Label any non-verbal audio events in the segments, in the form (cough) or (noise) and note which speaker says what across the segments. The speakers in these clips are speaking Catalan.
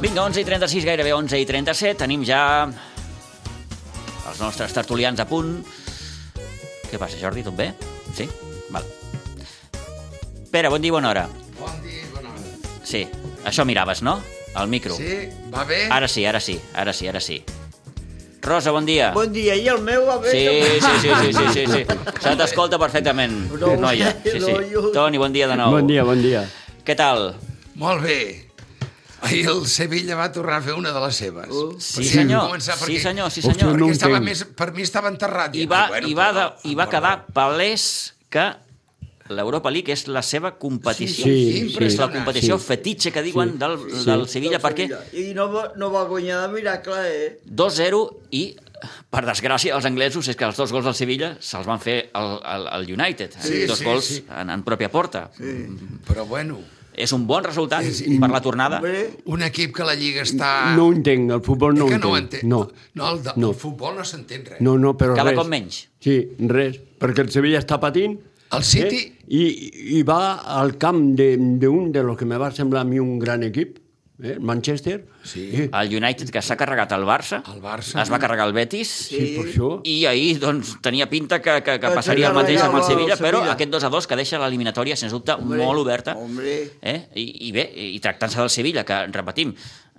Speaker 1: Vinga, 11 i 36, gairebé 11 i 37. Tenim ja els nostres tertulians a punt. Què passa, Jordi? Tot bé? Sí? Val. Pere, bon dia i bona hora.
Speaker 2: Bon dia, bona hora.
Speaker 1: Sí, això miraves, no? El micro.
Speaker 2: Sí, va bé?
Speaker 1: Ara sí, ara sí, ara sí, ara sí. Rosa, bon dia.
Speaker 3: Bon dia, i el meu a
Speaker 1: Ah. Sí,
Speaker 3: veure... (laughs)
Speaker 1: sí, sí, sí, sí, sí, sí. Se t'escolta perfectament,
Speaker 3: No,
Speaker 1: noia. Sí, sí.
Speaker 3: no, jo-
Speaker 1: Toni, bon dia de nou.
Speaker 4: Bon dia, bon dia.
Speaker 1: Què tal?
Speaker 2: Molt bé. Ahir el Sevilla va tornar a fer una de les seves. Uh,
Speaker 1: Oh, Sí, senyor. Sí, senyor, sí, senyor.
Speaker 4: Hosti,
Speaker 2: Perquè
Speaker 4: No
Speaker 2: estava
Speaker 4: entenc.
Speaker 2: més, per mi estava enterrat.
Speaker 1: I
Speaker 2: dic,
Speaker 1: va,
Speaker 2: ah, bueno,
Speaker 1: i va, de,
Speaker 2: però
Speaker 1: i va
Speaker 2: fora.
Speaker 1: quedar palès que l'Europa League és la seva competició.
Speaker 4: Sí, sí,
Speaker 1: és la
Speaker 2: impressionant.
Speaker 1: competició
Speaker 4: Sí.
Speaker 1: fetitxe que diuen
Speaker 4: Sí,
Speaker 1: del,
Speaker 4: sí.
Speaker 1: del Sevilla, perquè
Speaker 3: I no va, no va guanyar de miracle, eh?
Speaker 1: 2-0 i, per desgràcia dels anglesos, és que els dos gols del Sevilla se'ls van fer al, al, al United.
Speaker 2: Sí,
Speaker 1: dos
Speaker 2: sí,
Speaker 1: gols
Speaker 2: sí.
Speaker 1: En, en pròpia porta.
Speaker 2: Però bueno,
Speaker 1: És un bon resultat
Speaker 2: Sí, sí.
Speaker 1: per la tornada.
Speaker 3: Bé,
Speaker 2: un equip que la Lliga està...
Speaker 4: No ho entenc, el futbol no ho
Speaker 2: Ah. és que no
Speaker 4: entenc.
Speaker 2: ho entén.
Speaker 4: No,
Speaker 2: no, el, de,
Speaker 4: No.
Speaker 2: el futbol no s'entén res.
Speaker 4: no, no però
Speaker 1: Cada
Speaker 4: res.
Speaker 1: cop menys.
Speaker 4: Sí, res, perquè el Sevilla està patint.
Speaker 2: El City-
Speaker 4: Eh? I, I va al camp d'un de, d'un de los que me va semblar a mi un gran equip, eh? el Manchester.
Speaker 2: Sí.
Speaker 4: Eh?
Speaker 1: El United, que s'ha carregat el Barça,
Speaker 2: El Barça.
Speaker 1: es va carregar el Betis,
Speaker 4: Sí, per això.
Speaker 1: i ahir doncs, tenia pinta que, que, que
Speaker 3: Que
Speaker 1: passaria el
Speaker 3: seria
Speaker 1: mateix amb el
Speaker 3: regal al
Speaker 1: Sevilla, però
Speaker 3: Sevilla.
Speaker 1: aquest 2 a 2 que deixa l'eliminatòria, sens dubte,
Speaker 3: Hombre,
Speaker 1: molt oberta.
Speaker 3: hombre.
Speaker 1: Eh? I, I bé, i tractant-se del Sevilla, que, repetim,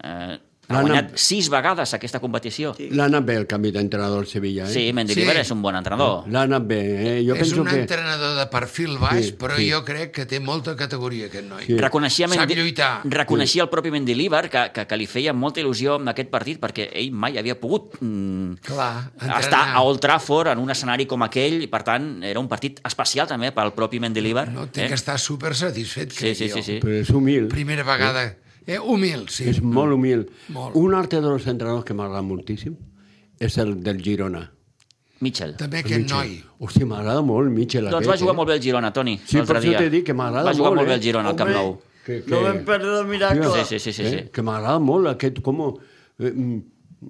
Speaker 1: eh, ha
Speaker 4: L'han
Speaker 1: guanyat
Speaker 4: amb-
Speaker 1: sis vegades aquesta competició. Sí,
Speaker 4: L'ha anat bé el canvi d'entrenador del Sevilla. Eh?
Speaker 1: sí Mendy
Speaker 2: Sí.
Speaker 1: Rivera és un bon entrenador.
Speaker 4: L'ha anat bé. Eh? Jo
Speaker 2: és
Speaker 4: penso
Speaker 2: un
Speaker 4: que...
Speaker 2: entrenador de perfil baix,
Speaker 4: Sí,
Speaker 2: però
Speaker 4: sí.
Speaker 2: jo crec que té molta categoria, aquest noi.
Speaker 4: Sí.
Speaker 1: Reconeixia,
Speaker 2: Sap
Speaker 1: Mendy-
Speaker 2: lluitar.
Speaker 1: reconeixia el propi Mendilibar que, que, que li feia molta il·lusió amb aquest partit perquè ell mai havia pogut mm,
Speaker 2: Clar, entrenar.
Speaker 1: estar a Old Trafford en un escenari com aquell i per tant era un partit especial també pel propi Mendilibar
Speaker 2: No, té eh? que estar super satisfet,
Speaker 1: sí, sí,
Speaker 2: jo.
Speaker 1: sí, sí.
Speaker 4: Però és humil.
Speaker 2: Primera vegada. Eh, humil, sí.
Speaker 4: És molt humil.
Speaker 2: Molt.
Speaker 4: Un altre dels entrenadors que m'agrada moltíssim és el del Girona.
Speaker 1: Mitchell
Speaker 2: També aquest noi.
Speaker 4: Hosti, m'agrada molt Mitchell
Speaker 1: doncs
Speaker 4: aquest.
Speaker 1: va jugar
Speaker 4: eh?
Speaker 1: molt bé el Girona, Toni
Speaker 4: Sí,
Speaker 1: l'altre
Speaker 4: per això
Speaker 1: dia.
Speaker 4: t'he dit que m'agrada
Speaker 1: va jugar
Speaker 4: molt,
Speaker 1: molt bé
Speaker 4: eh?
Speaker 1: el Girona al Camp
Speaker 3: Hombre,
Speaker 1: Nou
Speaker 4: Que- que-
Speaker 3: No vam perdre de miracle.
Speaker 1: sí, sí, sí, sí, sí.
Speaker 4: Eh? Que m'agrada molt aquest com eh, mm,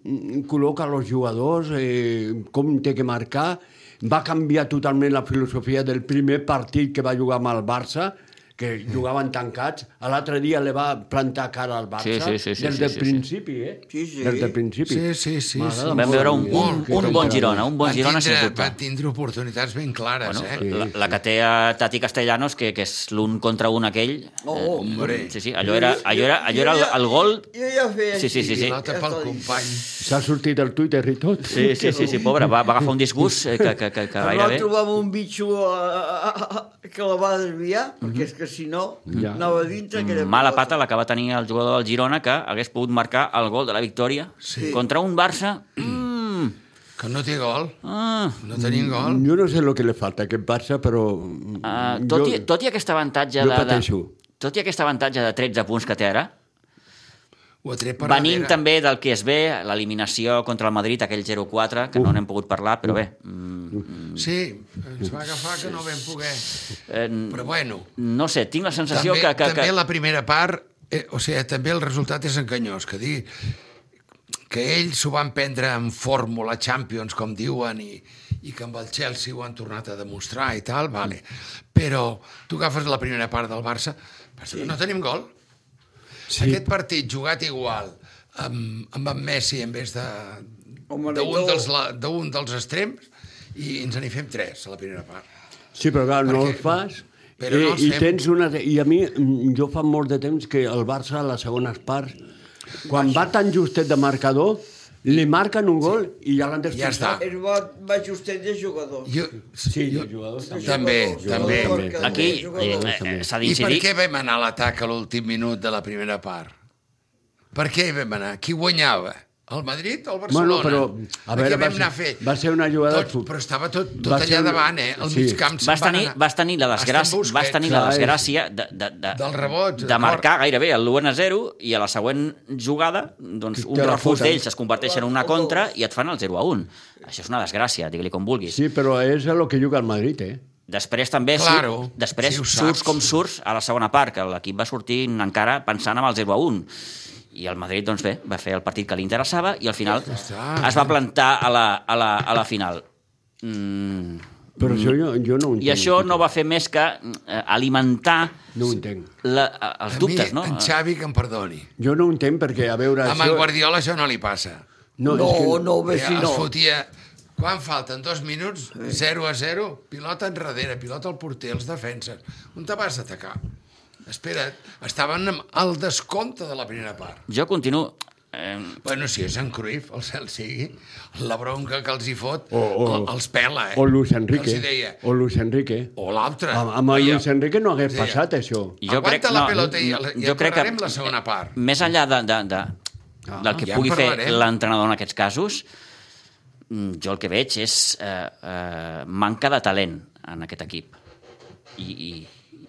Speaker 4: mm, col·loca els jugadors, eh, com té que marcar. Va canviar totalment la filosofia del primer partit que va jugar amb el Barça, que jugaven tancats. A L'altre dia le va plantar cara al Barça.
Speaker 1: Sí, sí, sí, sí,
Speaker 4: des
Speaker 1: sí,
Speaker 4: del
Speaker 1: sí, sí.
Speaker 4: principi, eh?
Speaker 3: Sí, sí.
Speaker 4: Des del principi.
Speaker 2: Sí, sí, sí,
Speaker 4: M'agrada
Speaker 2: sí.
Speaker 4: molt,
Speaker 1: vam veure un,
Speaker 4: eh,
Speaker 1: un,
Speaker 4: que
Speaker 1: un bon
Speaker 4: m'agrada
Speaker 1: Girona
Speaker 4: molt.
Speaker 1: un bon Girona
Speaker 2: va tindre,
Speaker 1: sens
Speaker 2: va
Speaker 1: dubte
Speaker 2: tindre oportunitats ben
Speaker 4: Ah,
Speaker 2: clares,
Speaker 1: Bueno,
Speaker 2: eh?
Speaker 1: la, la que té a Tati Castellanos, que, que és l'un contra un aquell...
Speaker 3: Oh,
Speaker 1: eh,
Speaker 2: hombre.
Speaker 1: Sí, sí, allò era, allò era, allò era el, el gol...
Speaker 3: Jo ja feia
Speaker 1: Sí, sí, sí, sí.
Speaker 2: Pilota pel company.
Speaker 4: S'ha sortit el Twitter i tot.
Speaker 1: Sí, sí, sí, sí, pobre, va, va agafar un disgust eh, que, que, que, que
Speaker 3: Però va
Speaker 1: gairebé...
Speaker 3: trobar amb un bitxo eh, que la va desviar, perquè és que si no,
Speaker 4: Ja.
Speaker 3: anava dintre aquella
Speaker 1: Mhm. Mm, mala
Speaker 3: pilota.
Speaker 1: pata la que va tenir el jugador del Girona que hagués pogut marcar el gol de la victòria
Speaker 2: Sí.
Speaker 1: contra un Barça mm,
Speaker 2: Que no té gol.
Speaker 1: ah,
Speaker 2: No tenim gol.
Speaker 4: Jo no sé el que li falta a aquest Barça, però... mm,
Speaker 1: ah, tot, i, tot i aquest avantatge
Speaker 4: jo
Speaker 1: de, de,
Speaker 4: pateixo.
Speaker 1: tot i aquest avantatge de 13 punts que té ara
Speaker 2: Ho ha tret per
Speaker 1: venint
Speaker 2: darrere.
Speaker 1: també del que es ve l'eliminació contra el Madrid, aquell 0-4 que no n'hem pogut parlar, però bé mm,
Speaker 2: Sí, ens va agafar que no vam poder.
Speaker 1: eh,
Speaker 2: Però bueno,
Speaker 1: no sé, tinc la sensació
Speaker 2: també,
Speaker 1: que, que,
Speaker 2: també
Speaker 1: que
Speaker 2: la primera part, eh, o sigui, també el resultat és enganyós, que dir que ells s'ho van prendre en fórmula Champions, com diuen, i, i que amb el Chelsea ho han tornat a demostrar i tal, vale. però tu agafes la primera part del Barça, sí. no tenim gol. Sí. Aquest partit jugat igual amb, amb en Messi en vez de
Speaker 3: Home,
Speaker 2: d'un
Speaker 3: Neto.
Speaker 2: dels, la- d'un dels extrems i ens n'hi fem tres a la primera part.
Speaker 4: Sí, però clar, no
Speaker 2: Perquè-
Speaker 4: el fas...
Speaker 2: però
Speaker 4: i,
Speaker 2: no els
Speaker 4: i,
Speaker 2: fem.
Speaker 4: tens una, I a mi, mm, jo fa molt de temps que el Barça, a les segones parts, quan va tan justet de marcador, li marquen un gol i ja l'han destrossat.
Speaker 2: està.
Speaker 3: És bo, va justet de jugador.
Speaker 2: Jo,
Speaker 4: Sí, jo, jugadors també.
Speaker 2: També, també.
Speaker 3: Jugador,
Speaker 1: aquí eh,
Speaker 3: jugador.
Speaker 1: eh, eh, s'ha
Speaker 2: I per
Speaker 1: d'incidir
Speaker 2: què vam anar a l'atac a l'últim minut de la primera part? Per què hi vam anar? Qui guanyava? El Madrid o el Barcelona?
Speaker 4: Bueno, però, a veure,
Speaker 2: què
Speaker 4: va
Speaker 2: vam
Speaker 4: ser-
Speaker 2: anar a fer?
Speaker 4: va ser una jugada
Speaker 2: Tot,
Speaker 4: fut-
Speaker 2: però estava tot, tot
Speaker 4: va
Speaker 2: allà
Speaker 4: ser una-
Speaker 2: davant, eh? El
Speaker 4: Sí.
Speaker 2: sí. mig camp se'n
Speaker 1: vas
Speaker 2: van
Speaker 1: tenir,
Speaker 2: anar.
Speaker 1: vas tenir la
Speaker 2: Hasta en
Speaker 1: desgràcia,
Speaker 2: Busquets.
Speaker 1: vas tenir la
Speaker 4: Clar, és-
Speaker 1: desgràcia de, de, de,
Speaker 2: Del rebot,
Speaker 1: de
Speaker 2: d'acord.
Speaker 1: marcar gairebé el 1 a 0 i a la següent jugada doncs,
Speaker 4: Te
Speaker 1: un
Speaker 4: la
Speaker 1: refús
Speaker 4: foten.
Speaker 1: d'ells es converteix en una
Speaker 2: Oh.
Speaker 1: contra i et fan el 0 a 1. Això és una desgràcia, digue-li com vulguis.
Speaker 4: Sí, però és el que juga el Madrid, eh?
Speaker 1: Després també
Speaker 2: Claro,
Speaker 1: surt, després
Speaker 2: sí, ho saps.
Speaker 1: surts com surts a la segona part, que l'equip va sortir encara pensant amb el 0 a 1 i el Madrid, doncs bé, va fer el partit que li interessava i al final
Speaker 2: està.
Speaker 1: es va plantar a la, a la, a la final. Mm,
Speaker 4: Però això jo, jo no ho entenc.
Speaker 1: I això no va fer més que eh, alimentar
Speaker 4: No ho entenc.
Speaker 1: la, eh, els dubtes,
Speaker 2: mi,
Speaker 1: no?
Speaker 2: En Xavi, que em perdoni.
Speaker 4: Jo no ho entenc perquè, a veure...
Speaker 2: A en Guardiola això no li passa.
Speaker 3: No,
Speaker 4: és
Speaker 3: no,
Speaker 4: que- Eh,
Speaker 3: no bé,
Speaker 2: ja
Speaker 3: si no.
Speaker 2: Eh, Es fotia... Quan falten dos minuts, 0 a 0, pilota enrere, pilota al porter, els defenses. On te vas a atacar? Espera't, estaven amb el descompte de la primera part.
Speaker 1: Jo continuo... Eh,
Speaker 2: Bueno, si és en Cruyff, el cel sigui, la bronca que els hi fot,
Speaker 4: O- o-
Speaker 2: els pela, eh?
Speaker 4: O Luis
Speaker 2: Que
Speaker 4: Enrique.
Speaker 2: Els hi deia,
Speaker 4: O Luis Enrique.
Speaker 2: o l'altre.
Speaker 4: Amb, amb el
Speaker 2: Veia,
Speaker 4: Luis Enrique no hagués
Speaker 2: Sí.
Speaker 4: passat això.
Speaker 1: jo crec,
Speaker 2: Aguanta la pelota i- i en parlarem la
Speaker 1: eh,
Speaker 2: segona part.
Speaker 1: Més enllà de, de, de, ah, del que
Speaker 2: ja en
Speaker 1: pugui fer
Speaker 2: parlarem.
Speaker 1: l'entrenador en aquests casos, mm, jo el que veig és eh, eh, manca de talent en aquest equip. I, i,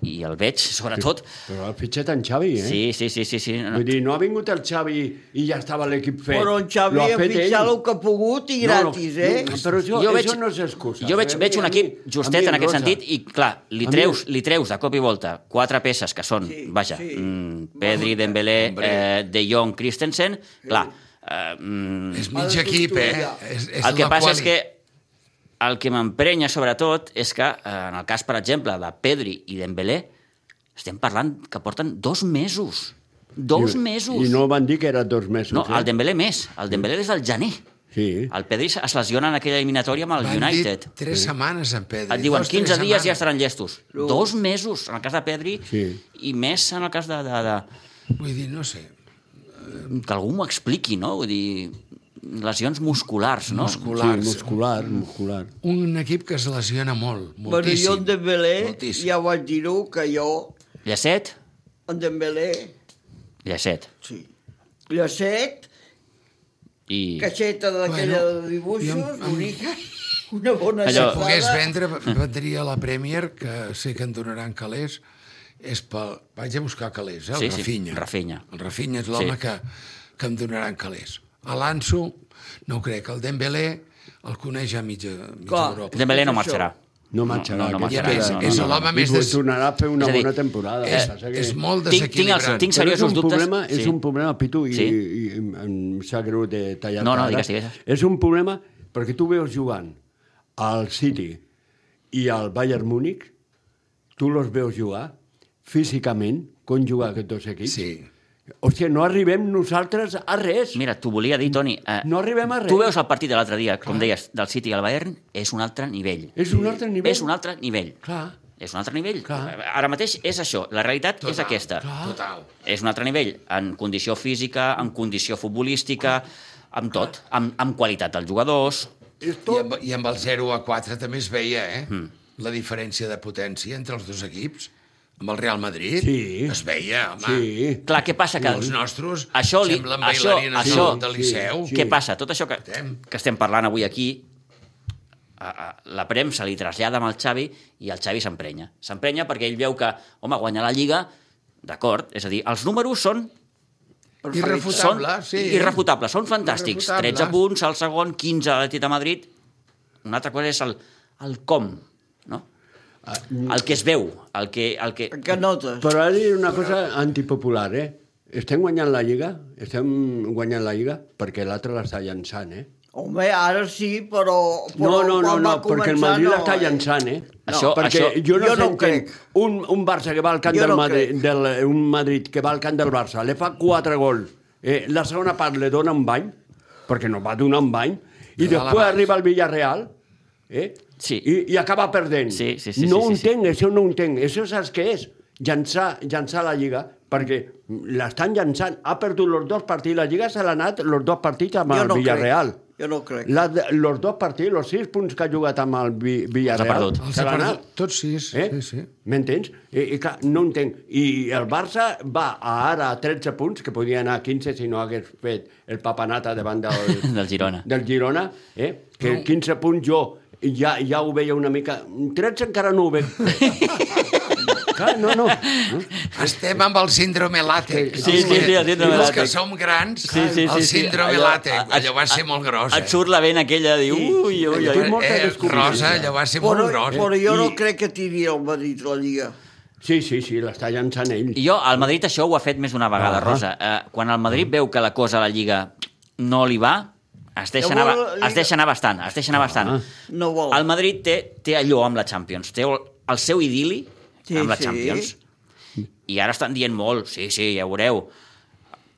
Speaker 1: i el veig, sobretot...
Speaker 4: Però ha fitxat en Xavi, eh?
Speaker 1: Sí, sí, sí, sí, sí. no, no.
Speaker 4: Vull dir, no ha vingut el Xavi i ja estava l'equip fet.
Speaker 3: Però en Xavi
Speaker 4: Lo
Speaker 3: ha
Speaker 4: fet
Speaker 3: fitxat
Speaker 4: ell.
Speaker 3: el que ha pogut i gratis,
Speaker 4: no,
Speaker 3: eh?
Speaker 4: No, però això,
Speaker 1: Jo
Speaker 4: jo
Speaker 1: veig-
Speaker 4: això no és excusa. eh?
Speaker 1: Jo veig,
Speaker 4: A mi-
Speaker 1: veig un
Speaker 4: a mi-
Speaker 1: equip
Speaker 4: a
Speaker 1: justet
Speaker 4: mi
Speaker 1: en aquest
Speaker 4: Rosa,
Speaker 1: sentit i, clar, li
Speaker 4: A mi-
Speaker 1: treus, li treus de cop i volta quatre peces que són,
Speaker 3: Sí,
Speaker 1: vaja,
Speaker 3: sí.
Speaker 1: mm, Pedri, Dembélé,
Speaker 2: Hombre.
Speaker 1: eh, De Jong, Christensen, clar, eh, mm,
Speaker 2: És mig equip, eh? És, és
Speaker 1: el que
Speaker 2: la
Speaker 1: passa
Speaker 2: quali.
Speaker 1: és que el que m'emprenya, sobretot, és que, eh, en el cas, per exemple, de Pedri i Dembélé, estem parlant que porten dos mesos. Dos
Speaker 4: I-
Speaker 1: mesos.
Speaker 4: I no van dir que era dos mesos.
Speaker 1: no,
Speaker 4: eh?
Speaker 1: el Dembélé més. El Dembélé des del gener.
Speaker 4: Sí.
Speaker 1: El Pedri es lesiona en aquella eliminatòria amb el
Speaker 2: Van
Speaker 1: United.
Speaker 2: Dir tres setmanes, en Pedri.
Speaker 1: Et diuen
Speaker 2: dos, tres
Speaker 1: 15 dies
Speaker 2: setmanes.
Speaker 1: ja estaran llestos.
Speaker 3: No.
Speaker 1: Dos mesos, en el cas de Pedri,
Speaker 4: Sí.
Speaker 1: i més en el cas de, de, de...
Speaker 2: Vull dir, no sé,
Speaker 1: Que algú m'ho expliqui, no? Vull dir, lesions musculars, no?
Speaker 2: musculars.
Speaker 4: Sí, muscular, muscular.
Speaker 2: Un equip que es lesiona molt,
Speaker 3: Bueno,
Speaker 2: moltíssim.
Speaker 3: jo en Dembélé,
Speaker 2: moltíssim.
Speaker 3: ja vaig dir-ho, que jo,
Speaker 1: Llacet?
Speaker 3: en Dembélé,
Speaker 1: Llacet.
Speaker 3: sí. Llacet,
Speaker 1: I...
Speaker 3: caixeta d'aquella
Speaker 2: Bueno,
Speaker 3: de dibuixos,
Speaker 2: jo em- em-
Speaker 3: bonica, (laughs) una bona
Speaker 1: Allò-
Speaker 2: Si
Speaker 1: Jo-
Speaker 3: Allò...
Speaker 2: pogués vendre, vendria la Premier, que sé que en donaran calés, és pel... Vaig a buscar calés, eh? El
Speaker 1: Sí, sí,
Speaker 2: Rafinha.
Speaker 1: Rafinha.
Speaker 2: El Rafinha és l'home
Speaker 1: Sí.
Speaker 2: que, que em donaran calés. A l'Anso, no ho crec, el Dembélé el coneix a mitja, mitja
Speaker 3: Clar.
Speaker 2: Europa.
Speaker 1: Dembélé no
Speaker 3: Això.
Speaker 1: marxarà.
Speaker 4: No marxarà.
Speaker 1: No, no, no
Speaker 4: aquest
Speaker 1: marxarà.
Speaker 4: era-
Speaker 2: És-
Speaker 1: no, no,
Speaker 2: és
Speaker 1: no, no.
Speaker 2: l'home més
Speaker 4: I
Speaker 2: des-
Speaker 4: tornarà a fer una
Speaker 1: És a dir,
Speaker 4: bona temporada.
Speaker 2: És,
Speaker 4: passa que-
Speaker 2: és molt
Speaker 1: Eh, Tinc- tinc els-
Speaker 2: desequilibrant.
Speaker 1: tinc-
Speaker 4: Però és
Speaker 1: seriosos
Speaker 4: un
Speaker 1: dubtes,
Speaker 4: Problema, és
Speaker 1: sí.
Speaker 4: un problema, Pitu, i,
Speaker 1: Sí.
Speaker 4: i, i em sap greu de tallar
Speaker 1: No, no,
Speaker 4: ara.
Speaker 1: digues, digues.
Speaker 4: És un problema perquè tu veus jugant al City i al Bayern Múnich, tu los veus jugar físicament, com jugar aquests dos equips.
Speaker 2: Sí.
Speaker 4: Hòstia, no arribem nosaltres a res.
Speaker 1: Mira, t'ho volia dir, Toni. Eh,
Speaker 4: No arribem a res.
Speaker 1: Tu veus el partit de l'altre dia, com deies, del City al Bayern, és un altre nivell.
Speaker 4: És un altre nivell.
Speaker 1: És un altre nivell.
Speaker 4: Clar.
Speaker 1: És un altre nivell.
Speaker 4: Clar.
Speaker 1: Ara mateix és això. La realitat és aquesta.
Speaker 2: Total.
Speaker 1: És un altre nivell, en condició física, en condició futbolística, amb tot, amb, amb qualitat dels jugadors.
Speaker 4: És
Speaker 2: I
Speaker 4: tot...
Speaker 2: amb, I amb el 0 a 4 també es veia, eh?
Speaker 1: Hmm.
Speaker 2: Mm. La diferència de potència entre els dos equips. Amb el Real Madrid
Speaker 4: Sí.
Speaker 2: es veia, home.
Speaker 4: Sí.
Speaker 1: Clar, què passa? Que
Speaker 2: Els nostres
Speaker 1: això li,
Speaker 2: semblen
Speaker 1: això,
Speaker 2: bailarines
Speaker 1: això,
Speaker 2: del- del Liceu.
Speaker 1: Què passa? Tot això que,
Speaker 2: Estem.
Speaker 1: que estem parlant avui aquí, a, a, la premsa li trasllada amb el Xavi i el Xavi s'emprenya. S'emprenya perquè ell veu que, home, guanyar la Lliga, d'acord, és a dir, els números són són
Speaker 2: Irrefutable, sí.
Speaker 1: irrefutables, són fantàstics.
Speaker 2: Irrefutables.
Speaker 1: 13 punts, el segon, 15 a l'Atlètic de Madrid. Una altra cosa és el, el com, no? El que es veu, el que... El que...
Speaker 3: eh, Que notes?
Speaker 4: Però ara diré una cosa antipopular, eh? Estem guanyant la Lliga, estem guanyant la Lliga perquè l'altre l'està llançant, eh?
Speaker 3: Home, ara sí, però... però
Speaker 4: No, no, no,
Speaker 3: quan
Speaker 4: no,
Speaker 3: va
Speaker 4: perquè el
Speaker 3: començar,
Speaker 4: Madrid
Speaker 3: no,
Speaker 4: l'està
Speaker 3: eh?
Speaker 4: llançant, eh?
Speaker 1: No, Això-
Speaker 4: perquè
Speaker 1: això-
Speaker 4: jo
Speaker 3: Jo
Speaker 4: no,
Speaker 3: no ho
Speaker 4: s'entenc.
Speaker 3: crec.
Speaker 4: Un, un Barça que va al camp
Speaker 3: Jo
Speaker 4: del
Speaker 3: no ho
Speaker 4: Madrid,
Speaker 3: crec.
Speaker 4: del, eh, un Madrid que va al camp del Barça, li fa quatre gols, eh, la segona part li dona un bany, perquè no va donar un bany, i
Speaker 2: Li va
Speaker 4: després
Speaker 2: la
Speaker 4: arriba al Villarreal, eh?
Speaker 1: Sí.
Speaker 4: I, i acaba perdent.
Speaker 1: Sí, sí, sí,
Speaker 4: no
Speaker 1: sí,
Speaker 4: ho
Speaker 1: sí, sí.
Speaker 4: entenc, això no ho entenc. Això saps què és? Llançar, llançar la Lliga, perquè l'estan llançant. Ha perdut els dos partits. La Lliga se l'ha anat els dos partits amb
Speaker 3: Jo
Speaker 4: el
Speaker 3: no crec.
Speaker 4: Villarreal.
Speaker 3: Jo no crec.
Speaker 4: La, de- los dos partits, los sis punts que ha jugat amb el Vi- Villarreal...
Speaker 1: perdut.
Speaker 2: Els
Speaker 4: se
Speaker 2: ha
Speaker 4: l'ha
Speaker 2: perdut
Speaker 4: anat.
Speaker 2: tots sis.
Speaker 4: Eh?
Speaker 2: Sí, sí.
Speaker 4: M'entens? I, i clar, no ho entenc. I el Barça va a ara a 13 punts, que podia anar a 15 si no hagués fet el papanata davant del,
Speaker 1: (laughs) Del Girona.
Speaker 4: del Girona eh? que no. 15 punts jo ja, ja ho veia una mica... 13 encara no ho
Speaker 1: (laughs)
Speaker 4: veig. clar, no, no. no.
Speaker 2: Estem amb el síndrome làtex.
Speaker 1: Sí,
Speaker 2: Els
Speaker 1: sí,
Speaker 2: que-
Speaker 1: sí, el síndrome
Speaker 2: Els que
Speaker 1: làtex.
Speaker 2: som grans,
Speaker 1: Sí, sí, sí,
Speaker 2: el
Speaker 1: sí.
Speaker 2: síndrome
Speaker 1: Allò-
Speaker 2: làtex.
Speaker 1: a-
Speaker 2: Allò va ser molt gros, eh?
Speaker 1: Et surt la vena aquella de dir... Ui, ui,
Speaker 4: Tu
Speaker 1: ui,
Speaker 4: molt- molta
Speaker 2: eh,
Speaker 4: descobriment.
Speaker 2: Rosa, allò va ser
Speaker 3: Però,
Speaker 2: molt gros.
Speaker 3: però jo no
Speaker 4: I-
Speaker 3: crec que tiri el Madrid la Lliga.
Speaker 4: Sí, sí, sí, l'està llançant ell.
Speaker 1: I jo, al Madrid això ho ha fet més d'una vegada,
Speaker 4: Ahà.
Speaker 1: Rosa. Eh, quan el Madrid veu que la cosa a la Lliga no li va, Es deixa,
Speaker 3: Llavors,
Speaker 1: anar,
Speaker 3: la
Speaker 1: es deixa anar bastant, es deixa anar bastant.
Speaker 3: No vol.
Speaker 1: El Madrid té, té allò amb la Champions, té el, el seu idili
Speaker 3: Sí,
Speaker 1: amb la
Speaker 3: sí.
Speaker 1: Champions. I ara estan dient molt, sí, sí, ja ho veureu,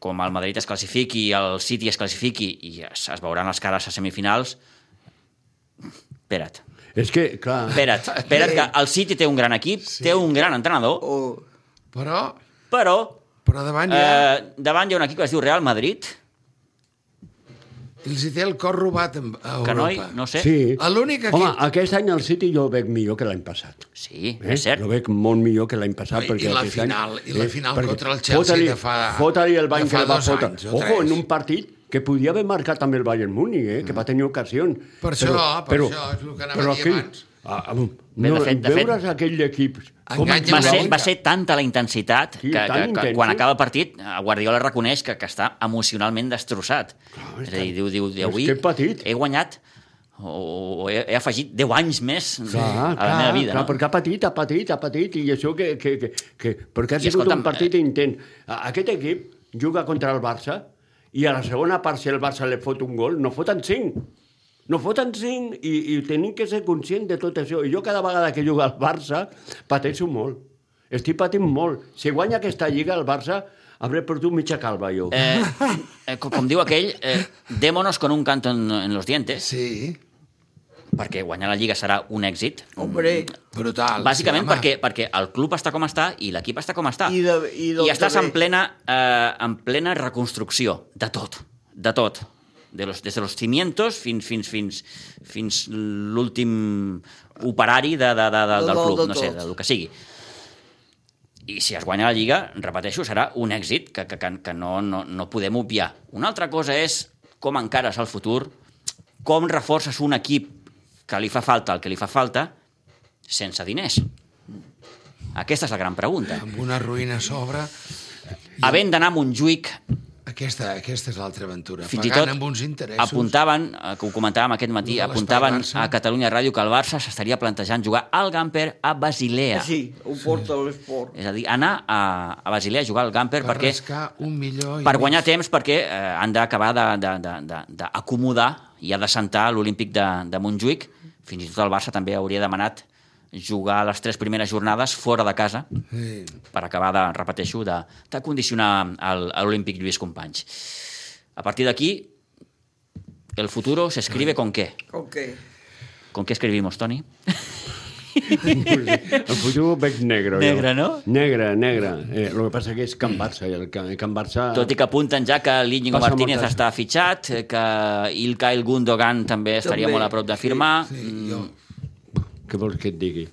Speaker 1: com el Madrid es classifiqui, el City es classifiqui, i es, es veuran les cares a semifinals. Espera't,
Speaker 4: És que, clar...
Speaker 1: espera't, espera't que el City té un gran equip, sí. té un gran entrenador,
Speaker 3: O...
Speaker 2: Però,
Speaker 1: però
Speaker 2: però davant ja...
Speaker 1: eh, davant hi ha un equip que es diu Real Madrid,
Speaker 2: Els hi té el cor robat amb- a Europa.
Speaker 1: que no, hi, no sé...
Speaker 4: Sí.
Speaker 2: L'únic equip-
Speaker 4: Home, aquest any el City jo el veig millor que l'any passat.
Speaker 1: Sí,
Speaker 4: Eh?
Speaker 1: és cert.
Speaker 4: Jo veig molt millor que l'any passat.
Speaker 2: I-
Speaker 4: perquè
Speaker 2: i la
Speaker 4: aquest
Speaker 2: final- i la final
Speaker 4: perquè
Speaker 2: contra el Chelsea
Speaker 4: fota-li-
Speaker 2: de fa-
Speaker 4: Fota-li el bany
Speaker 2: de fa
Speaker 4: que el va
Speaker 2: dos
Speaker 4: fotre.
Speaker 2: anys o
Speaker 4: Ojo,
Speaker 2: tres. Mm.
Speaker 4: en un partit que podia haver marcat també el Bayern Múnich, eh? que va tenir ocasions.
Speaker 2: Per això, per això, és el que anava a dir abans.
Speaker 4: Ah, ah, no,
Speaker 1: Bé, de fet- de fet-
Speaker 4: veure's aquell equip... com
Speaker 2: Enganya
Speaker 1: va
Speaker 2: una
Speaker 1: ser,
Speaker 2: mica.
Speaker 1: va ser tanta la intensitat
Speaker 4: Sí,
Speaker 1: que,
Speaker 4: tan
Speaker 1: que, que
Speaker 4: intensa.
Speaker 1: quan acaba el partit eh, Guardiola reconeix que, que està emocionalment destrossat.
Speaker 4: Clar,
Speaker 1: és a dir, diu, diu,
Speaker 4: és
Speaker 1: diu avui
Speaker 4: que he patit."
Speaker 1: he guanyat o, o he, he afegit 10 anys més
Speaker 4: Clar,
Speaker 1: a la
Speaker 4: clar,
Speaker 1: meva vida.
Speaker 4: clar,
Speaker 1: no?
Speaker 4: perquè ha patit, ha patit, ha patit, i això que... que, que, que perquè ha
Speaker 1: I
Speaker 4: sigut
Speaker 1: escolta'm, eh,
Speaker 4: un partit intent. A- Aquest equip juga contra el Barça, i a la segona part, si el Barça li fot un gol, no foten cinc. No foten cinc, i, i tenim que ser conscient de tot això. I jo cada vegada que jugo al Barça, pateixo molt. Estic patint molt. Si guanya aquesta lliga, el Barça, hauré perdut mitja calva, jo. Eh.
Speaker 1: Eh, eh, com, com diu aquell, eh, démonos con un canto en, en los dientes,
Speaker 2: Sí,
Speaker 1: perquè guanyar la Lliga serà un èxit.
Speaker 3: Hombre,
Speaker 4: Mm,
Speaker 2: brutal.
Speaker 1: Bàsicament
Speaker 2: sí, home.
Speaker 1: perquè, perquè el club està com està i l'equip està com està.
Speaker 3: I de- i del
Speaker 1: I estàs en
Speaker 3: darrer.
Speaker 1: plena, eh, en plena reconstrucció de tot, de tot. De los, des de los cimientos fins, fins, fins, fins l'últim operari de, de, de, de,
Speaker 3: De
Speaker 1: del
Speaker 3: dalt
Speaker 1: club,
Speaker 3: de
Speaker 1: no sé,
Speaker 3: tot.
Speaker 1: del que sigui. I si es guanya la Lliga, repeteixo, serà un èxit que, que, que, que no, no, no podem obviar. Una altra cosa és com encares el futur, com reforces un equip que li fa falta el que li fa falta sense diners. Aquesta és la gran pregunta.
Speaker 2: Amb una ruïna a sobre,
Speaker 1: Havent d'anar a Montjuïc,
Speaker 2: aquesta, aquesta és l'altra aventura.
Speaker 1: fins i
Speaker 2: Pagant
Speaker 1: tot
Speaker 2: amb uns interessos.
Speaker 1: apuntaven, eh, que ho comentàvem aquest matí,
Speaker 2: Lo de l'estat
Speaker 1: apuntaven
Speaker 2: Barça.
Speaker 1: a Catalunya Ràdio que el Barça s'estaria plantejant jugar al Gamper a Basilea.
Speaker 3: sí, ho porta a l'esport.
Speaker 1: És a dir, anar a, a Basilea a jugar al Gamper
Speaker 2: per
Speaker 1: perquè
Speaker 2: rascar un milió i
Speaker 1: per
Speaker 2: mig.
Speaker 1: guanyar temps perquè eh, han d'acabar de- de- de- de- d'acomodar i ha de sentar l'Olímpic de, de Montjuïc. Fins i tot el Barça també hauria demanat jugar les tres primeres jornades fora de casa
Speaker 2: Sí.
Speaker 1: per acabar de, repeteixo, de, de condicionar el- a l'Olímpic Lluís Companys. A partir d'aquí, el futuro se escribe con qué?
Speaker 3: Ok.
Speaker 1: ¿Con qué escribimos, Toni?
Speaker 4: El futur ho veig negre, jo.
Speaker 1: Negre, no?
Speaker 4: Negre, negre. Eh, el que passa que és Can Barça, i el Can, Can Barça...
Speaker 1: Tot i que apunten ja que l'Iñigo
Speaker 4: Passa
Speaker 1: Martínez
Speaker 4: moltes-
Speaker 1: està fitxat, eh, que Ilkay Gundogan també estaria
Speaker 3: També,
Speaker 1: molt a prop de firmar.
Speaker 2: Sí, jo,
Speaker 1: Mm.
Speaker 4: Què vols que et digui?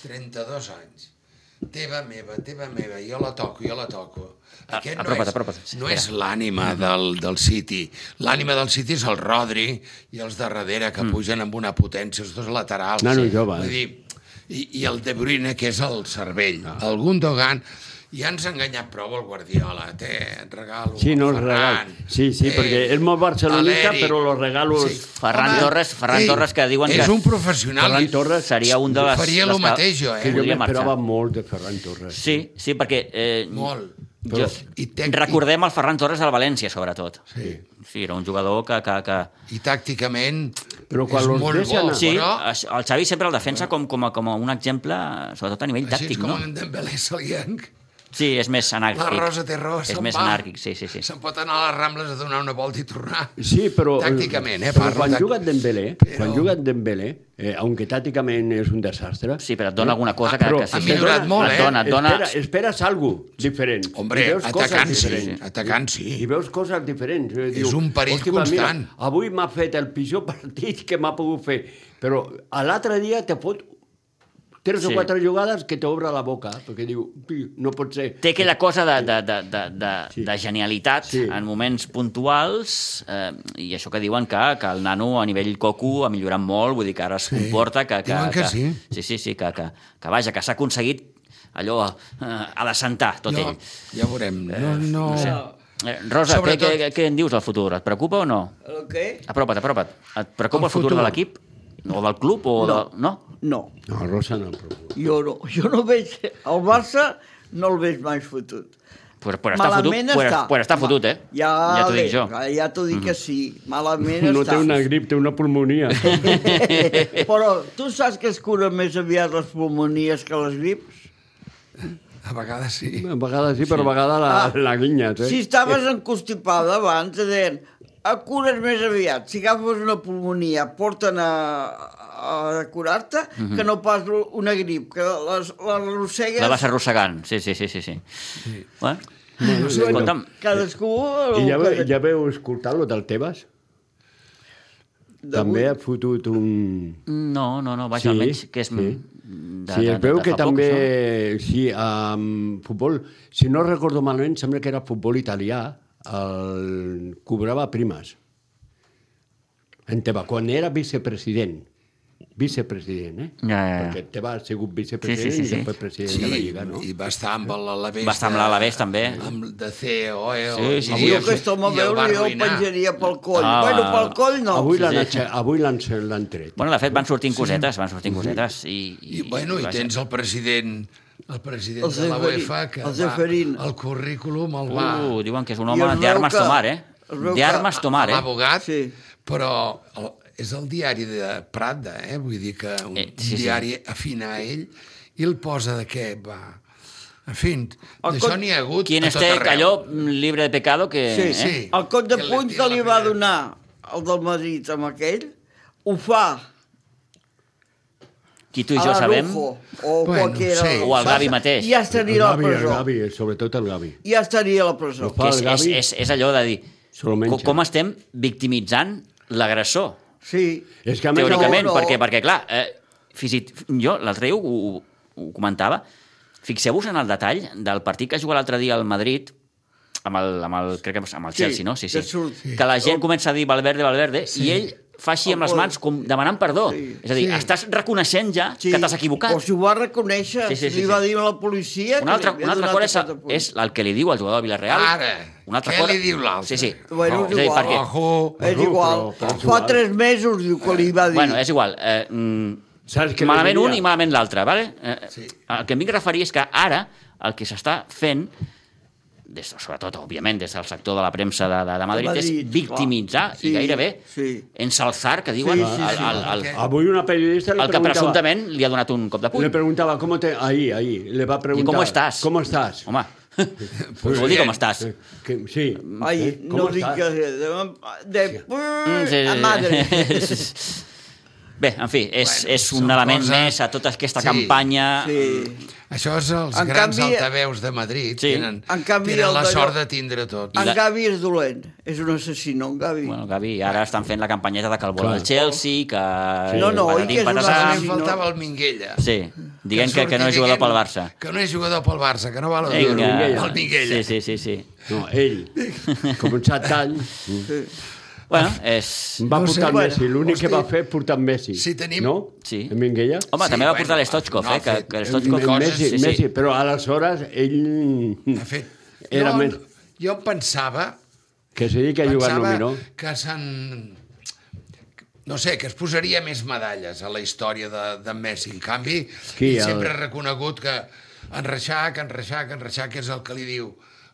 Speaker 2: 32 anys. Teva meva, teva meva, jo la toco, jo la toco.
Speaker 1: A-
Speaker 2: Aquest
Speaker 1: Ah, apropa't,
Speaker 2: no és,
Speaker 1: apropa't, sí,
Speaker 2: No
Speaker 1: espera.
Speaker 2: és l'ànima del, del City. L'ànima del City és el Rodri i els de darrere que mm. pugen amb una potència, els dos laterals.
Speaker 4: Nano jove, eh?
Speaker 2: Vull dir, i, I el De Bruyne, que és el cervell. Ah. El Gundogan, ja ens ha enganyat prou el Guardiola. Té, et regalo
Speaker 4: Sí, no,
Speaker 2: el
Speaker 4: el
Speaker 2: Ferran.
Speaker 4: regal. Sí, sí, perquè és molt barcelonista,
Speaker 2: l'Eric.
Speaker 4: però los regalos... Sí.
Speaker 1: Ferran Torres- Ferran Torres, que diuen
Speaker 2: és
Speaker 1: que-
Speaker 2: És un professional.
Speaker 4: Ferran
Speaker 2: i-
Speaker 4: Torres
Speaker 1: Seria un de les...
Speaker 2: Faria
Speaker 1: les
Speaker 2: lo
Speaker 1: que
Speaker 2: mateix, jo, eh?
Speaker 4: Que jo
Speaker 1: podria
Speaker 4: m'esperava
Speaker 1: marxar.
Speaker 4: molt de Ferran Torres.
Speaker 1: Sí, sí, perquè... Eh,
Speaker 2: Molt.
Speaker 1: Jo,
Speaker 2: I
Speaker 1: I
Speaker 2: tècnic.
Speaker 1: recordem el Ferran Torres al València, sobretot.
Speaker 2: Sí.
Speaker 1: Sí, era un jugador que... que, que...
Speaker 2: i tàcticament
Speaker 4: Però quan
Speaker 2: és
Speaker 4: los
Speaker 2: molt
Speaker 4: deixen
Speaker 2: bo,
Speaker 4: anar-
Speaker 1: Sí, eh,
Speaker 2: però
Speaker 1: això- el Xavi sempre el defensa com, com, a, com a un exemple, sobretot a nivell
Speaker 2: així és
Speaker 1: tàctic,
Speaker 2: com
Speaker 1: no?
Speaker 2: en Dembélé se li enc.
Speaker 1: Sí, és més anàrquic.
Speaker 2: La Rosa té raó,
Speaker 1: És
Speaker 2: se'n
Speaker 1: més
Speaker 2: va.
Speaker 1: anàrquic, sí, sí, sí.
Speaker 2: Se'n pot anar a les Rambles a donar una volta i tornar.
Speaker 4: Sí, però...
Speaker 2: Tàcticament, eh?
Speaker 4: Però
Speaker 2: parlo
Speaker 4: quan
Speaker 2: tac-
Speaker 4: juga en Dembélé,
Speaker 2: Però-
Speaker 4: quan juga en Dembélé, eh, aunque tàcticament és un desastre...
Speaker 1: Sí, però et dona alguna cosa
Speaker 4: Ah,
Speaker 1: que,
Speaker 4: però
Speaker 1: que sí,
Speaker 2: ha
Speaker 1: sí.
Speaker 2: millorat
Speaker 1: et
Speaker 2: molt, eh?
Speaker 1: dona, et dona...
Speaker 4: Espera, esperes algo diferent.
Speaker 2: Hombre,
Speaker 4: I veus coses
Speaker 2: atacant sí,
Speaker 4: diferents.
Speaker 2: atacant
Speaker 4: I
Speaker 2: sí.
Speaker 4: veus coses diferents. Eh,
Speaker 2: És un perill
Speaker 4: "Hòstia, però mira,
Speaker 2: constant."
Speaker 4: avui m'ha fet el pitjor (laughs) partit que m'ha pogut fer, però a l'altre dia te fot tres sí.
Speaker 1: Sí.
Speaker 4: o quatre jugades que t'obre la boca, perquè diu, "Pi, no pot ser.
Speaker 1: Té aquella cosa de, de, de, de, de,
Speaker 4: Sí.
Speaker 1: de genialitat
Speaker 4: Sí.
Speaker 1: en moments puntuals eh, i això que diuen que, que el nano a nivell coco ha millorat molt, vull dir que ara es comporta que... que,
Speaker 2: Diuen que sí.
Speaker 1: Sí, sí, sí, que, que, que vaja, que s'ha aconseguit allò eh, a de sentar, tot
Speaker 2: Jo,
Speaker 1: ell.
Speaker 2: ja veurem. No, no...
Speaker 1: Eh, Rosa, què,
Speaker 2: Sobretot-
Speaker 1: què, què en dius del futur? Et preocupa o no?
Speaker 3: El què?
Speaker 1: Apropa't, apropa't. Et preocupa el,
Speaker 2: El
Speaker 1: futur,
Speaker 2: futur.
Speaker 1: de l'equip? O del club? O no. De... no?
Speaker 3: No,
Speaker 4: No, Rosa no preocupa.
Speaker 3: jo no. Jo no veig... El Barça no el veig mai fotut.
Speaker 1: Pues, pues està fotut,
Speaker 3: Malament
Speaker 1: pues,
Speaker 3: està.
Speaker 1: pues està
Speaker 3: Ma-
Speaker 1: fotut, eh?
Speaker 3: Ja,
Speaker 1: ja t'ho
Speaker 3: bé,
Speaker 1: dic jo. Mhm.
Speaker 3: Ja t'ho dic que sí. Malament
Speaker 4: No
Speaker 3: està. (laughs)
Speaker 4: té una grip, té una pulmonia.
Speaker 1: (laughs)
Speaker 3: Però tu saps que es cura més aviat les pulmonies que les grips?
Speaker 2: A vegades sí.
Speaker 4: A vegades sí, però a vegades la,
Speaker 3: Ah.
Speaker 4: la guinyes, eh?
Speaker 3: Si estaves encostipada abans, et deien, a cures més aviat. Si agafes una pulmonia, porten a, a curar-te, que no pas una grip, que les- l'arrossegues...
Speaker 1: Mhm. La vas arrossegant, sí, sí, sí, sí. sí. sí. Bueno,
Speaker 4: Bueno,
Speaker 1: sí,
Speaker 4: bueno.
Speaker 1: escolta'm,
Speaker 3: Cadascú...
Speaker 4: I ja,
Speaker 3: el
Speaker 4: ve-
Speaker 3: que-
Speaker 4: ja veu escoltar lo del Tebas?
Speaker 3: d'avui.
Speaker 4: També ha fotut un...
Speaker 1: no, no, no, vaja, sí,
Speaker 4: Sí,
Speaker 1: almenys que és...
Speaker 4: sí.
Speaker 1: De,
Speaker 4: sí, es veu que
Speaker 1: fa poc,
Speaker 4: també...
Speaker 1: això. eh?
Speaker 4: sí, um, futbol... Si no recordo malament, sembla que era futbol italià. El... Cobrava primes. En Teba, quan era vicepresident. Vicepresident, eh?
Speaker 1: Ja, ja, ja.
Speaker 4: Perquè Teba ha sigut vicepresident
Speaker 1: Sí, sí, sí,
Speaker 4: i
Speaker 1: sí.
Speaker 4: després president
Speaker 2: Sí,
Speaker 4: de la Lliga, no?
Speaker 2: i va estar amb l'Alavés.
Speaker 1: Va estar amb
Speaker 2: de-
Speaker 1: l'Alavés, també.
Speaker 2: Amb de CEO, eh?
Speaker 1: Sí, sí, sí.
Speaker 3: Avui
Speaker 1: I
Speaker 3: sí,
Speaker 1: el-
Speaker 3: aquest home
Speaker 2: i el
Speaker 3: veure
Speaker 2: va
Speaker 3: jo el
Speaker 2: arruïnar.
Speaker 3: penjaria pel coll.
Speaker 1: Ah.
Speaker 3: Ah, bueno, pel coll no.
Speaker 4: Avui
Speaker 1: sí,
Speaker 4: l'han
Speaker 1: sí.
Speaker 4: aixe- avui l'han l'han tret.
Speaker 1: Bueno, de fet, van sortint cosetes, van sortint cosetes. I, i,
Speaker 2: I, bueno, i
Speaker 1: va ser-
Speaker 2: tens el president el president
Speaker 3: El
Speaker 2: de la
Speaker 3: Zeferin,
Speaker 2: UEFA que
Speaker 3: el
Speaker 2: va,
Speaker 3: Zeferin.
Speaker 2: el currículum el va
Speaker 1: Uh, diuen que és un
Speaker 3: I
Speaker 1: home
Speaker 3: es veu
Speaker 1: d'armes
Speaker 3: que-
Speaker 1: tomar, eh?
Speaker 3: es veu que-
Speaker 1: D'armes tomar, eh?
Speaker 2: l'abogat,
Speaker 3: Sí.
Speaker 2: però el, és el diari de Prada, eh? vull dir que un
Speaker 1: Eh,
Speaker 2: eh,
Speaker 1: sí, sí.
Speaker 2: sí, diari sí. afina a ell i el posa de què va... En fi,
Speaker 3: El
Speaker 2: d'això
Speaker 3: con-
Speaker 2: n'hi ha hagut
Speaker 1: Quien
Speaker 2: a tot
Speaker 1: esté
Speaker 2: arreu.
Speaker 1: calló, mm, libre de pecado, que...
Speaker 3: Sí,
Speaker 1: eh?
Speaker 3: sí.
Speaker 2: sí.
Speaker 3: El cop de
Speaker 2: Que li
Speaker 3: puny
Speaker 2: tira
Speaker 3: que
Speaker 2: la
Speaker 3: li va
Speaker 2: primera.
Speaker 3: donar el del Madrid amb aquell, ho fa
Speaker 1: Qui eh, tu i
Speaker 3: a
Speaker 1: jo sabem...
Speaker 3: Arujo, o
Speaker 2: Bueno,
Speaker 3: qualquera.
Speaker 2: sí.
Speaker 1: O al Gavi mateix.
Speaker 3: Ja estaria a la
Speaker 4: Gavi, el
Speaker 3: presó.
Speaker 4: Gavi, sobretot el Gavi.
Speaker 3: Ja estaria a la presó.
Speaker 4: No fa-
Speaker 1: Que és,
Speaker 4: el
Speaker 1: és,
Speaker 4: Gavi.
Speaker 1: és, és allò de dir...
Speaker 4: Se lo menja.
Speaker 1: co- Com estem victimitzant l'agressor,
Speaker 3: Sí.
Speaker 4: És que a més,
Speaker 1: teòricament,
Speaker 3: no, no.
Speaker 1: perquè, perquè clar, eh, fins i t- jo l'altre dia ho, ho, ho comentava, fixeu-vos en el detall del partit que jugà l'altre dia al Madrid, amb el, amb el, crec que amb el
Speaker 3: Sí,
Speaker 1: Chelsea, no? Sí, sí.
Speaker 3: que surt. Sí.
Speaker 1: Que la gent comença a dir Valverde, Valverde, sí. i ell fa així amb les
Speaker 3: Oh,
Speaker 1: mans com demanant perdó.
Speaker 3: Sí.
Speaker 1: És a dir,
Speaker 2: Sí.
Speaker 1: estàs reconeixent ja que t'has equivocat.
Speaker 3: O si ho va reconèixer,
Speaker 1: Sí, sí, sí,
Speaker 3: li va
Speaker 1: sí.
Speaker 3: dir a la policia...
Speaker 1: Una altra,
Speaker 3: que li havia
Speaker 1: una altra
Speaker 3: donat
Speaker 1: cosa és,
Speaker 3: aquest apunt.
Speaker 1: és el que li diu al jugador de Villarreal.
Speaker 2: Ara,
Speaker 1: una altra
Speaker 2: què
Speaker 1: cosa...
Speaker 2: li diu
Speaker 1: Sí,
Speaker 2: l'altre?
Speaker 1: sí.
Speaker 3: Bueno,
Speaker 1: és a dir,
Speaker 3: igual.
Speaker 1: perquè,
Speaker 2: Ojo,
Speaker 3: És
Speaker 4: Bueno,
Speaker 3: igual.
Speaker 4: però- però és
Speaker 3: Fa
Speaker 4: igual.
Speaker 3: tres mesos, diu, que li va dir.
Speaker 1: bueno, és igual. Eh, mm,
Speaker 4: Saps què li
Speaker 1: malament
Speaker 4: diria?
Speaker 1: un i malament l'altre, vale? Eh, sí.
Speaker 2: Sí.
Speaker 1: El que em vinc a referir és que ara el que s'està fent des, de- sobretot, òbviament, des del sector de la premsa de, de, de Madrid,
Speaker 3: Madrid,
Speaker 1: és victimitzar
Speaker 3: clar.
Speaker 1: i
Speaker 3: Sí,
Speaker 1: gairebé
Speaker 3: sí.
Speaker 1: ensalzar, que diuen,
Speaker 3: Sí, sí, sí,
Speaker 1: el, el, el,
Speaker 4: Avui una periodista li
Speaker 1: el, que
Speaker 4: preguntava...
Speaker 1: presumptament li ha donat un cop de puny.
Speaker 4: Le preguntaba, ¿cómo te...? Ahí, ahí, le va a preguntar...
Speaker 1: cómo estás?
Speaker 4: ¿Cómo estás?
Speaker 1: Home, pues, vol dir com estàs.
Speaker 4: Eh, que- sí.
Speaker 3: Ai,
Speaker 4: eh,
Speaker 3: no dic que... De, de,
Speaker 1: Mm, sí, sí,
Speaker 3: a madre.
Speaker 1: (laughs) sí. Bé, en fi, és,
Speaker 2: Bueno,
Speaker 1: és
Speaker 2: són
Speaker 1: un element
Speaker 2: coses-
Speaker 1: més a tota aquesta
Speaker 2: Sí.
Speaker 1: campanya.
Speaker 3: Sí.
Speaker 2: Això és els
Speaker 3: En
Speaker 2: grans
Speaker 3: canvi-
Speaker 2: altaveus de Madrid.
Speaker 1: Sí.
Speaker 2: Tenen,
Speaker 3: En canvi,
Speaker 2: tenen
Speaker 3: el
Speaker 2: la
Speaker 3: d'allò-
Speaker 2: sort de tindre tot.
Speaker 1: I
Speaker 3: En
Speaker 1: la-
Speaker 3: Gavi és dolent. És un assassino, en Gavi.
Speaker 1: Bueno, Gavi, ara estan fent la campanyeta de que el vol
Speaker 4: Clar.
Speaker 1: el Chelsea, que...
Speaker 3: No, no, oi
Speaker 1: patatín,
Speaker 3: que és una
Speaker 1: patatà.
Speaker 2: Ara
Speaker 3: si
Speaker 2: em
Speaker 3: no-
Speaker 2: faltava el Minguella.
Speaker 1: Sí, diguem que, que no és
Speaker 2: surti
Speaker 1: jugador
Speaker 2: dient
Speaker 1: pel Barça.
Speaker 2: Que no és jugador pel Barça, que no val el
Speaker 1: Vinga.
Speaker 2: duro.
Speaker 4: Minguella.
Speaker 2: El
Speaker 1: Sí,
Speaker 2: Minguella.
Speaker 1: sí, sí, sí.
Speaker 4: No, ell, com un satany,
Speaker 3: Sí.
Speaker 1: Bueno,
Speaker 4: Ah.
Speaker 1: és...
Speaker 4: va
Speaker 2: No sé,
Speaker 4: portar el
Speaker 2: bueno,
Speaker 4: Messi. L'únic que
Speaker 2: hosti.
Speaker 4: va fer, portar el Messi.
Speaker 2: Sí, tenim-
Speaker 4: No?
Speaker 1: Sí.
Speaker 4: En Minguella?
Speaker 1: Home,
Speaker 2: Sí,
Speaker 1: també va
Speaker 2: bueno,
Speaker 1: portar l'Stochkov,
Speaker 2: no,
Speaker 1: eh? Que,
Speaker 2: ha fet-
Speaker 1: que
Speaker 4: El
Speaker 1: l'Stochkov...
Speaker 2: coses,
Speaker 4: Messi,
Speaker 1: sí, sí.
Speaker 4: Messi, però aleshores ell...
Speaker 2: De fet,
Speaker 4: Mm. Era
Speaker 2: no,
Speaker 4: més-
Speaker 2: jo em pensava,
Speaker 4: Que se dedica a jugar
Speaker 2: pensava
Speaker 4: no?
Speaker 2: que s'han... No sé, que es posaria més medalles a la història de, de Messi. En canvi,
Speaker 4: Qui,
Speaker 2: ell
Speaker 4: el-
Speaker 2: sempre ha reconegut que en Reixac, en Reixac, en Reixac és el que li diu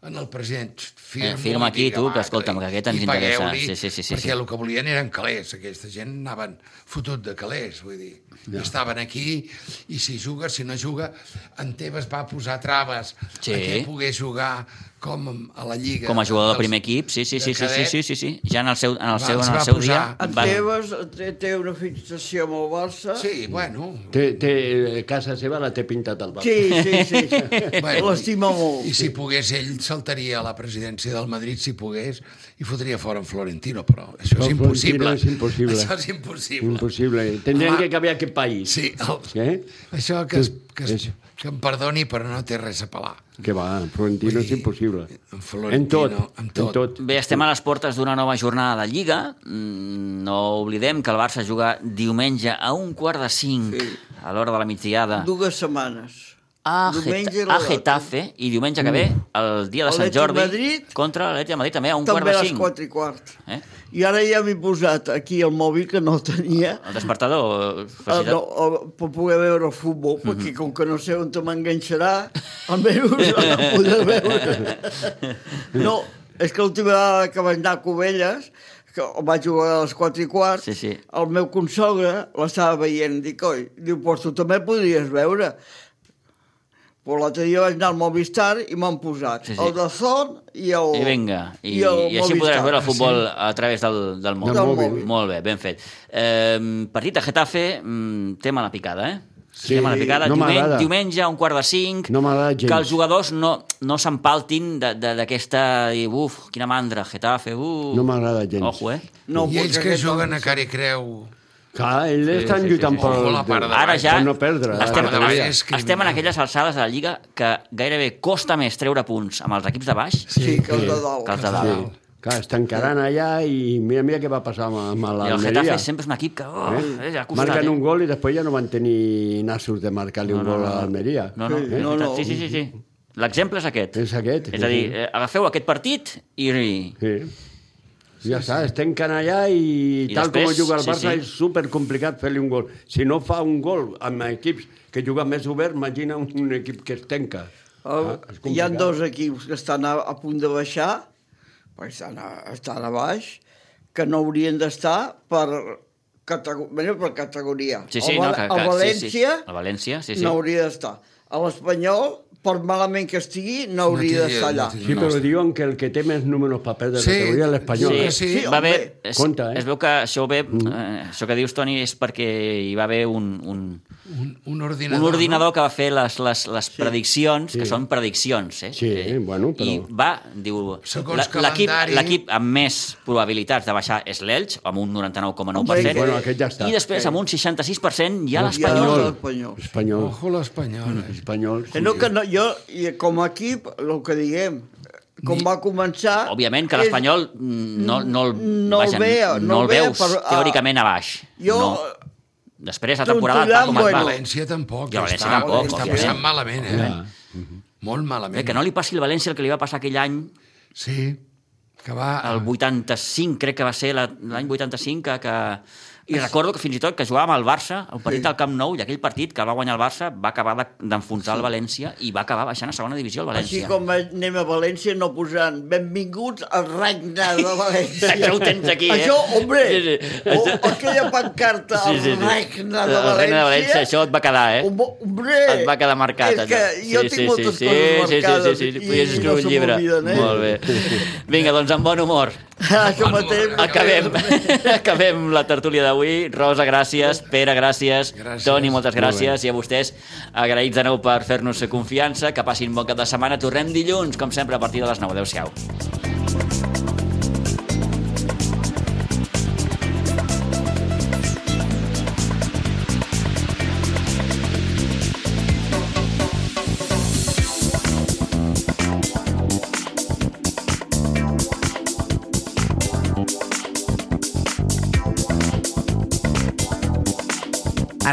Speaker 2: en el president, "Xxt, firma,
Speaker 1: Eh, firma
Speaker 2: i
Speaker 1: aquí,
Speaker 2: digue,
Speaker 1: tu, que
Speaker 2: va,
Speaker 1: escolta'm, que aquest ens
Speaker 2: i
Speaker 1: interessa."
Speaker 2: pagueu-li,
Speaker 1: Sí, sí, sí, sí, sí.
Speaker 2: Perquè el que volien eren calés, aquesta gent anaven fotut de calés, vull dir. Ja. Estaven aquí, i si juga, si no juga, en Tebas va posar traves
Speaker 1: Sí.
Speaker 2: a que pogués jugar com a la Lliga.
Speaker 1: Com a jugador de
Speaker 2: dels-
Speaker 1: primer equip, sí, sí,
Speaker 2: de
Speaker 1: sí, sí, sí,
Speaker 2: cadet.
Speaker 1: sí, sí, sí. Ja en el seu, en el
Speaker 2: Va,
Speaker 1: seu,
Speaker 2: els
Speaker 1: en el
Speaker 2: va
Speaker 1: seu dia...
Speaker 2: posar-
Speaker 3: En
Speaker 1: van-
Speaker 3: Tebas té, té una fixació amb el Barça.
Speaker 2: Sí, bueno.
Speaker 4: Té, té, eh, casa seva la té pintat al Barça.
Speaker 3: Sí, sí, sí.
Speaker 1: (laughs)
Speaker 2: Bueno,
Speaker 3: L'estima molt.
Speaker 2: I si pogués, ell saltaria a la presidència del Madrid, si pogués, i fotria fora en Florentino, però això
Speaker 4: Però
Speaker 2: és impossible.
Speaker 4: Florentino és impossible.
Speaker 2: Això és impossible.
Speaker 4: Impossible. Tendrien
Speaker 2: Home.
Speaker 4: que canviar aquest país.
Speaker 2: Sí, el, sí,
Speaker 4: Eh?
Speaker 2: això que, es, que, es,
Speaker 4: Sí.
Speaker 2: que em perdoni, però no té res a pelar.
Speaker 4: Que va, Florentino
Speaker 2: Vull
Speaker 4: és
Speaker 2: dir,
Speaker 4: impossible.
Speaker 2: en Florentino,
Speaker 4: en
Speaker 2: en
Speaker 4: tot.
Speaker 2: tot.
Speaker 4: En tot.
Speaker 1: Bé, estem a les portes d'una nova jornada de Lliga. Mm, No oblidem que el Barça juga diumenge a un quart de cinc
Speaker 3: Sí.
Speaker 1: a l'hora de la migdiada
Speaker 3: Dues setmanes.
Speaker 1: a,
Speaker 3: Diumenge
Speaker 1: Ah, Geta
Speaker 3: era
Speaker 1: a
Speaker 3: l'altre. Mm.
Speaker 1: Getafe i diumenge que ve, el dia de Sant
Speaker 3: Atlètic
Speaker 1: Jordi,
Speaker 3: Madrid.
Speaker 1: contra l'Atlètic de Madrid, també a un
Speaker 3: També a
Speaker 1: quart de
Speaker 3: les
Speaker 1: cinc.
Speaker 3: 4 i quart.
Speaker 1: Eh?
Speaker 3: I ara ja m'he posat aquí el mòbil, que no el tenia,
Speaker 1: El despertador... eh,
Speaker 3: Ah,
Speaker 1: facilitat-
Speaker 3: no, o- per poder veure el futbol,
Speaker 1: (laughs)
Speaker 3: perquè com que no sé on te m'enganxarà, almenys no la podré
Speaker 1: (laughs)
Speaker 3: veure. no, és que l'última vegada que vaig anar a Covelles, que vaig jugar a les 4 i quart,
Speaker 1: Sí, sí.
Speaker 3: el meu consogre l'estava veient, dic, oi, diu, pues tu també podries veure. Però l'altre dia vaig anar al Movistar i m'han posat
Speaker 1: Sí, sí.
Speaker 3: sí, sí. el de Zon i el...
Speaker 1: I vinga, i, i,
Speaker 3: el
Speaker 1: així podràs
Speaker 3: Movistar.
Speaker 1: veure el futbol a través del, del mòbil.
Speaker 3: Del mòbil.
Speaker 1: Molt bé, ben fet. Eh, partit a Getafe, mm, tema a la picada, eh?
Speaker 4: Sí,
Speaker 1: tema a la picada.
Speaker 4: no
Speaker 1: diumenge,
Speaker 4: m'agrada.
Speaker 1: diumenge, a un quart de cinc,
Speaker 4: No m'agrada gens.
Speaker 1: que els jugadors no, no s'empaltin de- de- d'aquesta... dir, Uf, quina mandra, Getafe, uf...
Speaker 4: No m'agrada gens.
Speaker 1: Ojo, eh?
Speaker 3: No,
Speaker 2: I ells que
Speaker 3: aquest
Speaker 2: juguen a cara i creu...
Speaker 4: Clar, ells
Speaker 1: Sí,
Speaker 4: estan
Speaker 1: sí, sí,
Speaker 4: lluitant
Speaker 1: sí,
Speaker 2: sí. Ojo, la
Speaker 4: pel...
Speaker 2: part de
Speaker 1: Ara
Speaker 2: baix,
Speaker 1: ja
Speaker 4: per no perdre.
Speaker 2: La
Speaker 1: estem,
Speaker 2: part de baix és criminal.
Speaker 1: estem en aquelles alçades de la Lliga que gairebé costa més treure punts amb els equips de baix
Speaker 3: Sí, que el de dalt.
Speaker 1: que els de
Speaker 4: Sí.
Speaker 1: dalt.
Speaker 4: Clar, es tancaran allà i mira, mira què va passar amb, amb
Speaker 1: I el
Speaker 4: l'Almeria.
Speaker 1: Getafe sempre és un equip que... Oh, eh? ja ha costat,
Speaker 4: Marquen
Speaker 1: eh?
Speaker 4: un gol i després ja no van tenir nassos de marcar-li un gol a l'Almeria.
Speaker 1: No, no,
Speaker 3: Sí,
Speaker 1: eh?
Speaker 3: no, no.
Speaker 1: Sí, sí, sí. sí. L'exemple és aquest.
Speaker 4: És aquest,
Speaker 1: És a
Speaker 4: sí,
Speaker 1: dir,
Speaker 4: sí.
Speaker 1: eh, agafeu aquest partit i...
Speaker 4: Sí. Ja està, es tanquen allà i,
Speaker 1: I
Speaker 4: tal
Speaker 1: després,
Speaker 4: com juga el
Speaker 1: sí,
Speaker 4: Barça
Speaker 1: sí.
Speaker 4: és supercomplicat fer-li un gol. Si no fa un gol amb equips que juguen més obert, imagina un, un equip que es tanca.
Speaker 3: El,
Speaker 4: Ah, és
Speaker 3: Oh, hi ha
Speaker 4: complicat.
Speaker 3: dos equips que estan a, a punt de baixar, perquè estan a, estan a baix, que no haurien d'estar per, catego- bé, per categoria.
Speaker 1: Sí, sí,
Speaker 3: el,
Speaker 1: no,
Speaker 3: Val-
Speaker 1: que, que,
Speaker 3: el
Speaker 1: sí, sí.
Speaker 3: València
Speaker 1: El València, sí, sí.
Speaker 3: no hauria d'estar. A l'Espanyol, per malament que estigui, no hauria
Speaker 2: tindria-
Speaker 3: d'estar allà.
Speaker 2: no tindria-
Speaker 4: Sí, però diuen que el que té més números per perdre
Speaker 2: Sí,
Speaker 4: sí, categoria és l'Espanyol.
Speaker 2: sí,
Speaker 4: eh?
Speaker 2: sí.
Speaker 1: va haver...
Speaker 3: home.
Speaker 1: Es,
Speaker 4: Compte, eh? Mm.
Speaker 1: es veu que això, ve, eh, això que dius, Toni, és perquè hi va haver un, un,
Speaker 2: Un, un
Speaker 1: un
Speaker 2: ordinador.
Speaker 1: ordinador que va fer les, les, les prediccions, que són prediccions, eh?
Speaker 4: Sí, bueno, però-
Speaker 1: I va, diu...
Speaker 2: Segons
Speaker 1: la- L'equip
Speaker 2: calendari-
Speaker 1: l'equip amb més probabilitats de baixar és l'Elx, amb un 99,9%.
Speaker 3: Home, sí. Bueno,
Speaker 4: aquest ja està.
Speaker 1: I després, amb un 66%, hi ha
Speaker 3: Hi ha
Speaker 1: l'Espanyol.
Speaker 3: l'Espanyol.
Speaker 2: No?
Speaker 4: Espanyol.
Speaker 2: Ojo
Speaker 1: Mm.
Speaker 2: l'Espanyol. eh?
Speaker 4: Espanyol.
Speaker 3: Que no, que no, jo, i com a equip, el que diguem, com va començar...
Speaker 1: Òbviament que
Speaker 3: és-
Speaker 1: l'Espanyol mm, no, no, el,
Speaker 3: no el
Speaker 1: vaja,
Speaker 3: veu,
Speaker 1: no,
Speaker 3: no
Speaker 1: el
Speaker 3: el veu,
Speaker 1: veus
Speaker 3: però, ah,
Speaker 1: teòricament a baix.
Speaker 3: Jo,
Speaker 1: No. Després, la temporada,
Speaker 3: Trontollant,
Speaker 1: tal com es va.
Speaker 3: bueno.
Speaker 2: València tampoc.
Speaker 1: I el València
Speaker 2: està,
Speaker 1: tampoc,
Speaker 2: Està
Speaker 1: òbviament.
Speaker 2: passant malament, eh?
Speaker 4: Ah.
Speaker 2: Molt malament.
Speaker 1: Bé, Eh, que no li passi al València el que li va passar aquell any,
Speaker 2: Sí, que va...
Speaker 3: Ah.
Speaker 1: el 85, crec que va ser la- l'any 85, que, que... I recordo que fins i tot que jugàvem al Barça, el partit al Camp Nou, i aquell partit que el va guanyar el Barça va acabar de- d'enfonsar el València i va acabar baixant a segona divisió el
Speaker 3: Així
Speaker 1: València.
Speaker 3: com anem a València, no posant benvinguts al
Speaker 1: (laughs)
Speaker 3: regne de València.
Speaker 1: Això ho tens aquí, eh?
Speaker 3: Això, hombre,
Speaker 1: Sí, sí.
Speaker 3: O, o aquella pancarta al regne de
Speaker 1: El
Speaker 3: València.
Speaker 1: Regne de València, això et va quedar, eh?
Speaker 3: Hom- Hombre,
Speaker 1: Et va quedar marcat.
Speaker 3: És que
Speaker 1: allò.
Speaker 3: jo tinc moltes coses marcades
Speaker 1: Sí, sí, sí, sí.
Speaker 3: i
Speaker 1: Podies escriure
Speaker 3: no
Speaker 1: un
Speaker 3: se
Speaker 1: llibre.
Speaker 3: m'obliden, eh?
Speaker 1: Molt
Speaker 3: (laughs)
Speaker 1: bé. Vinga, doncs amb bon humor.
Speaker 3: Això mateix.
Speaker 1: Acabem, (laughs) acabem la tertúlia d'avui. Rosa, gràcies. Pere, gràcies.
Speaker 2: Gràcies.
Speaker 1: Toni, moltes
Speaker 4: Molt
Speaker 1: gràcies. I a vostès, agraïts de nou per fer-nos confiança. Que passin bon cap de setmana. Tornem dilluns, com sempre, a partir de les 9. Adéu-siau.
Speaker 5: A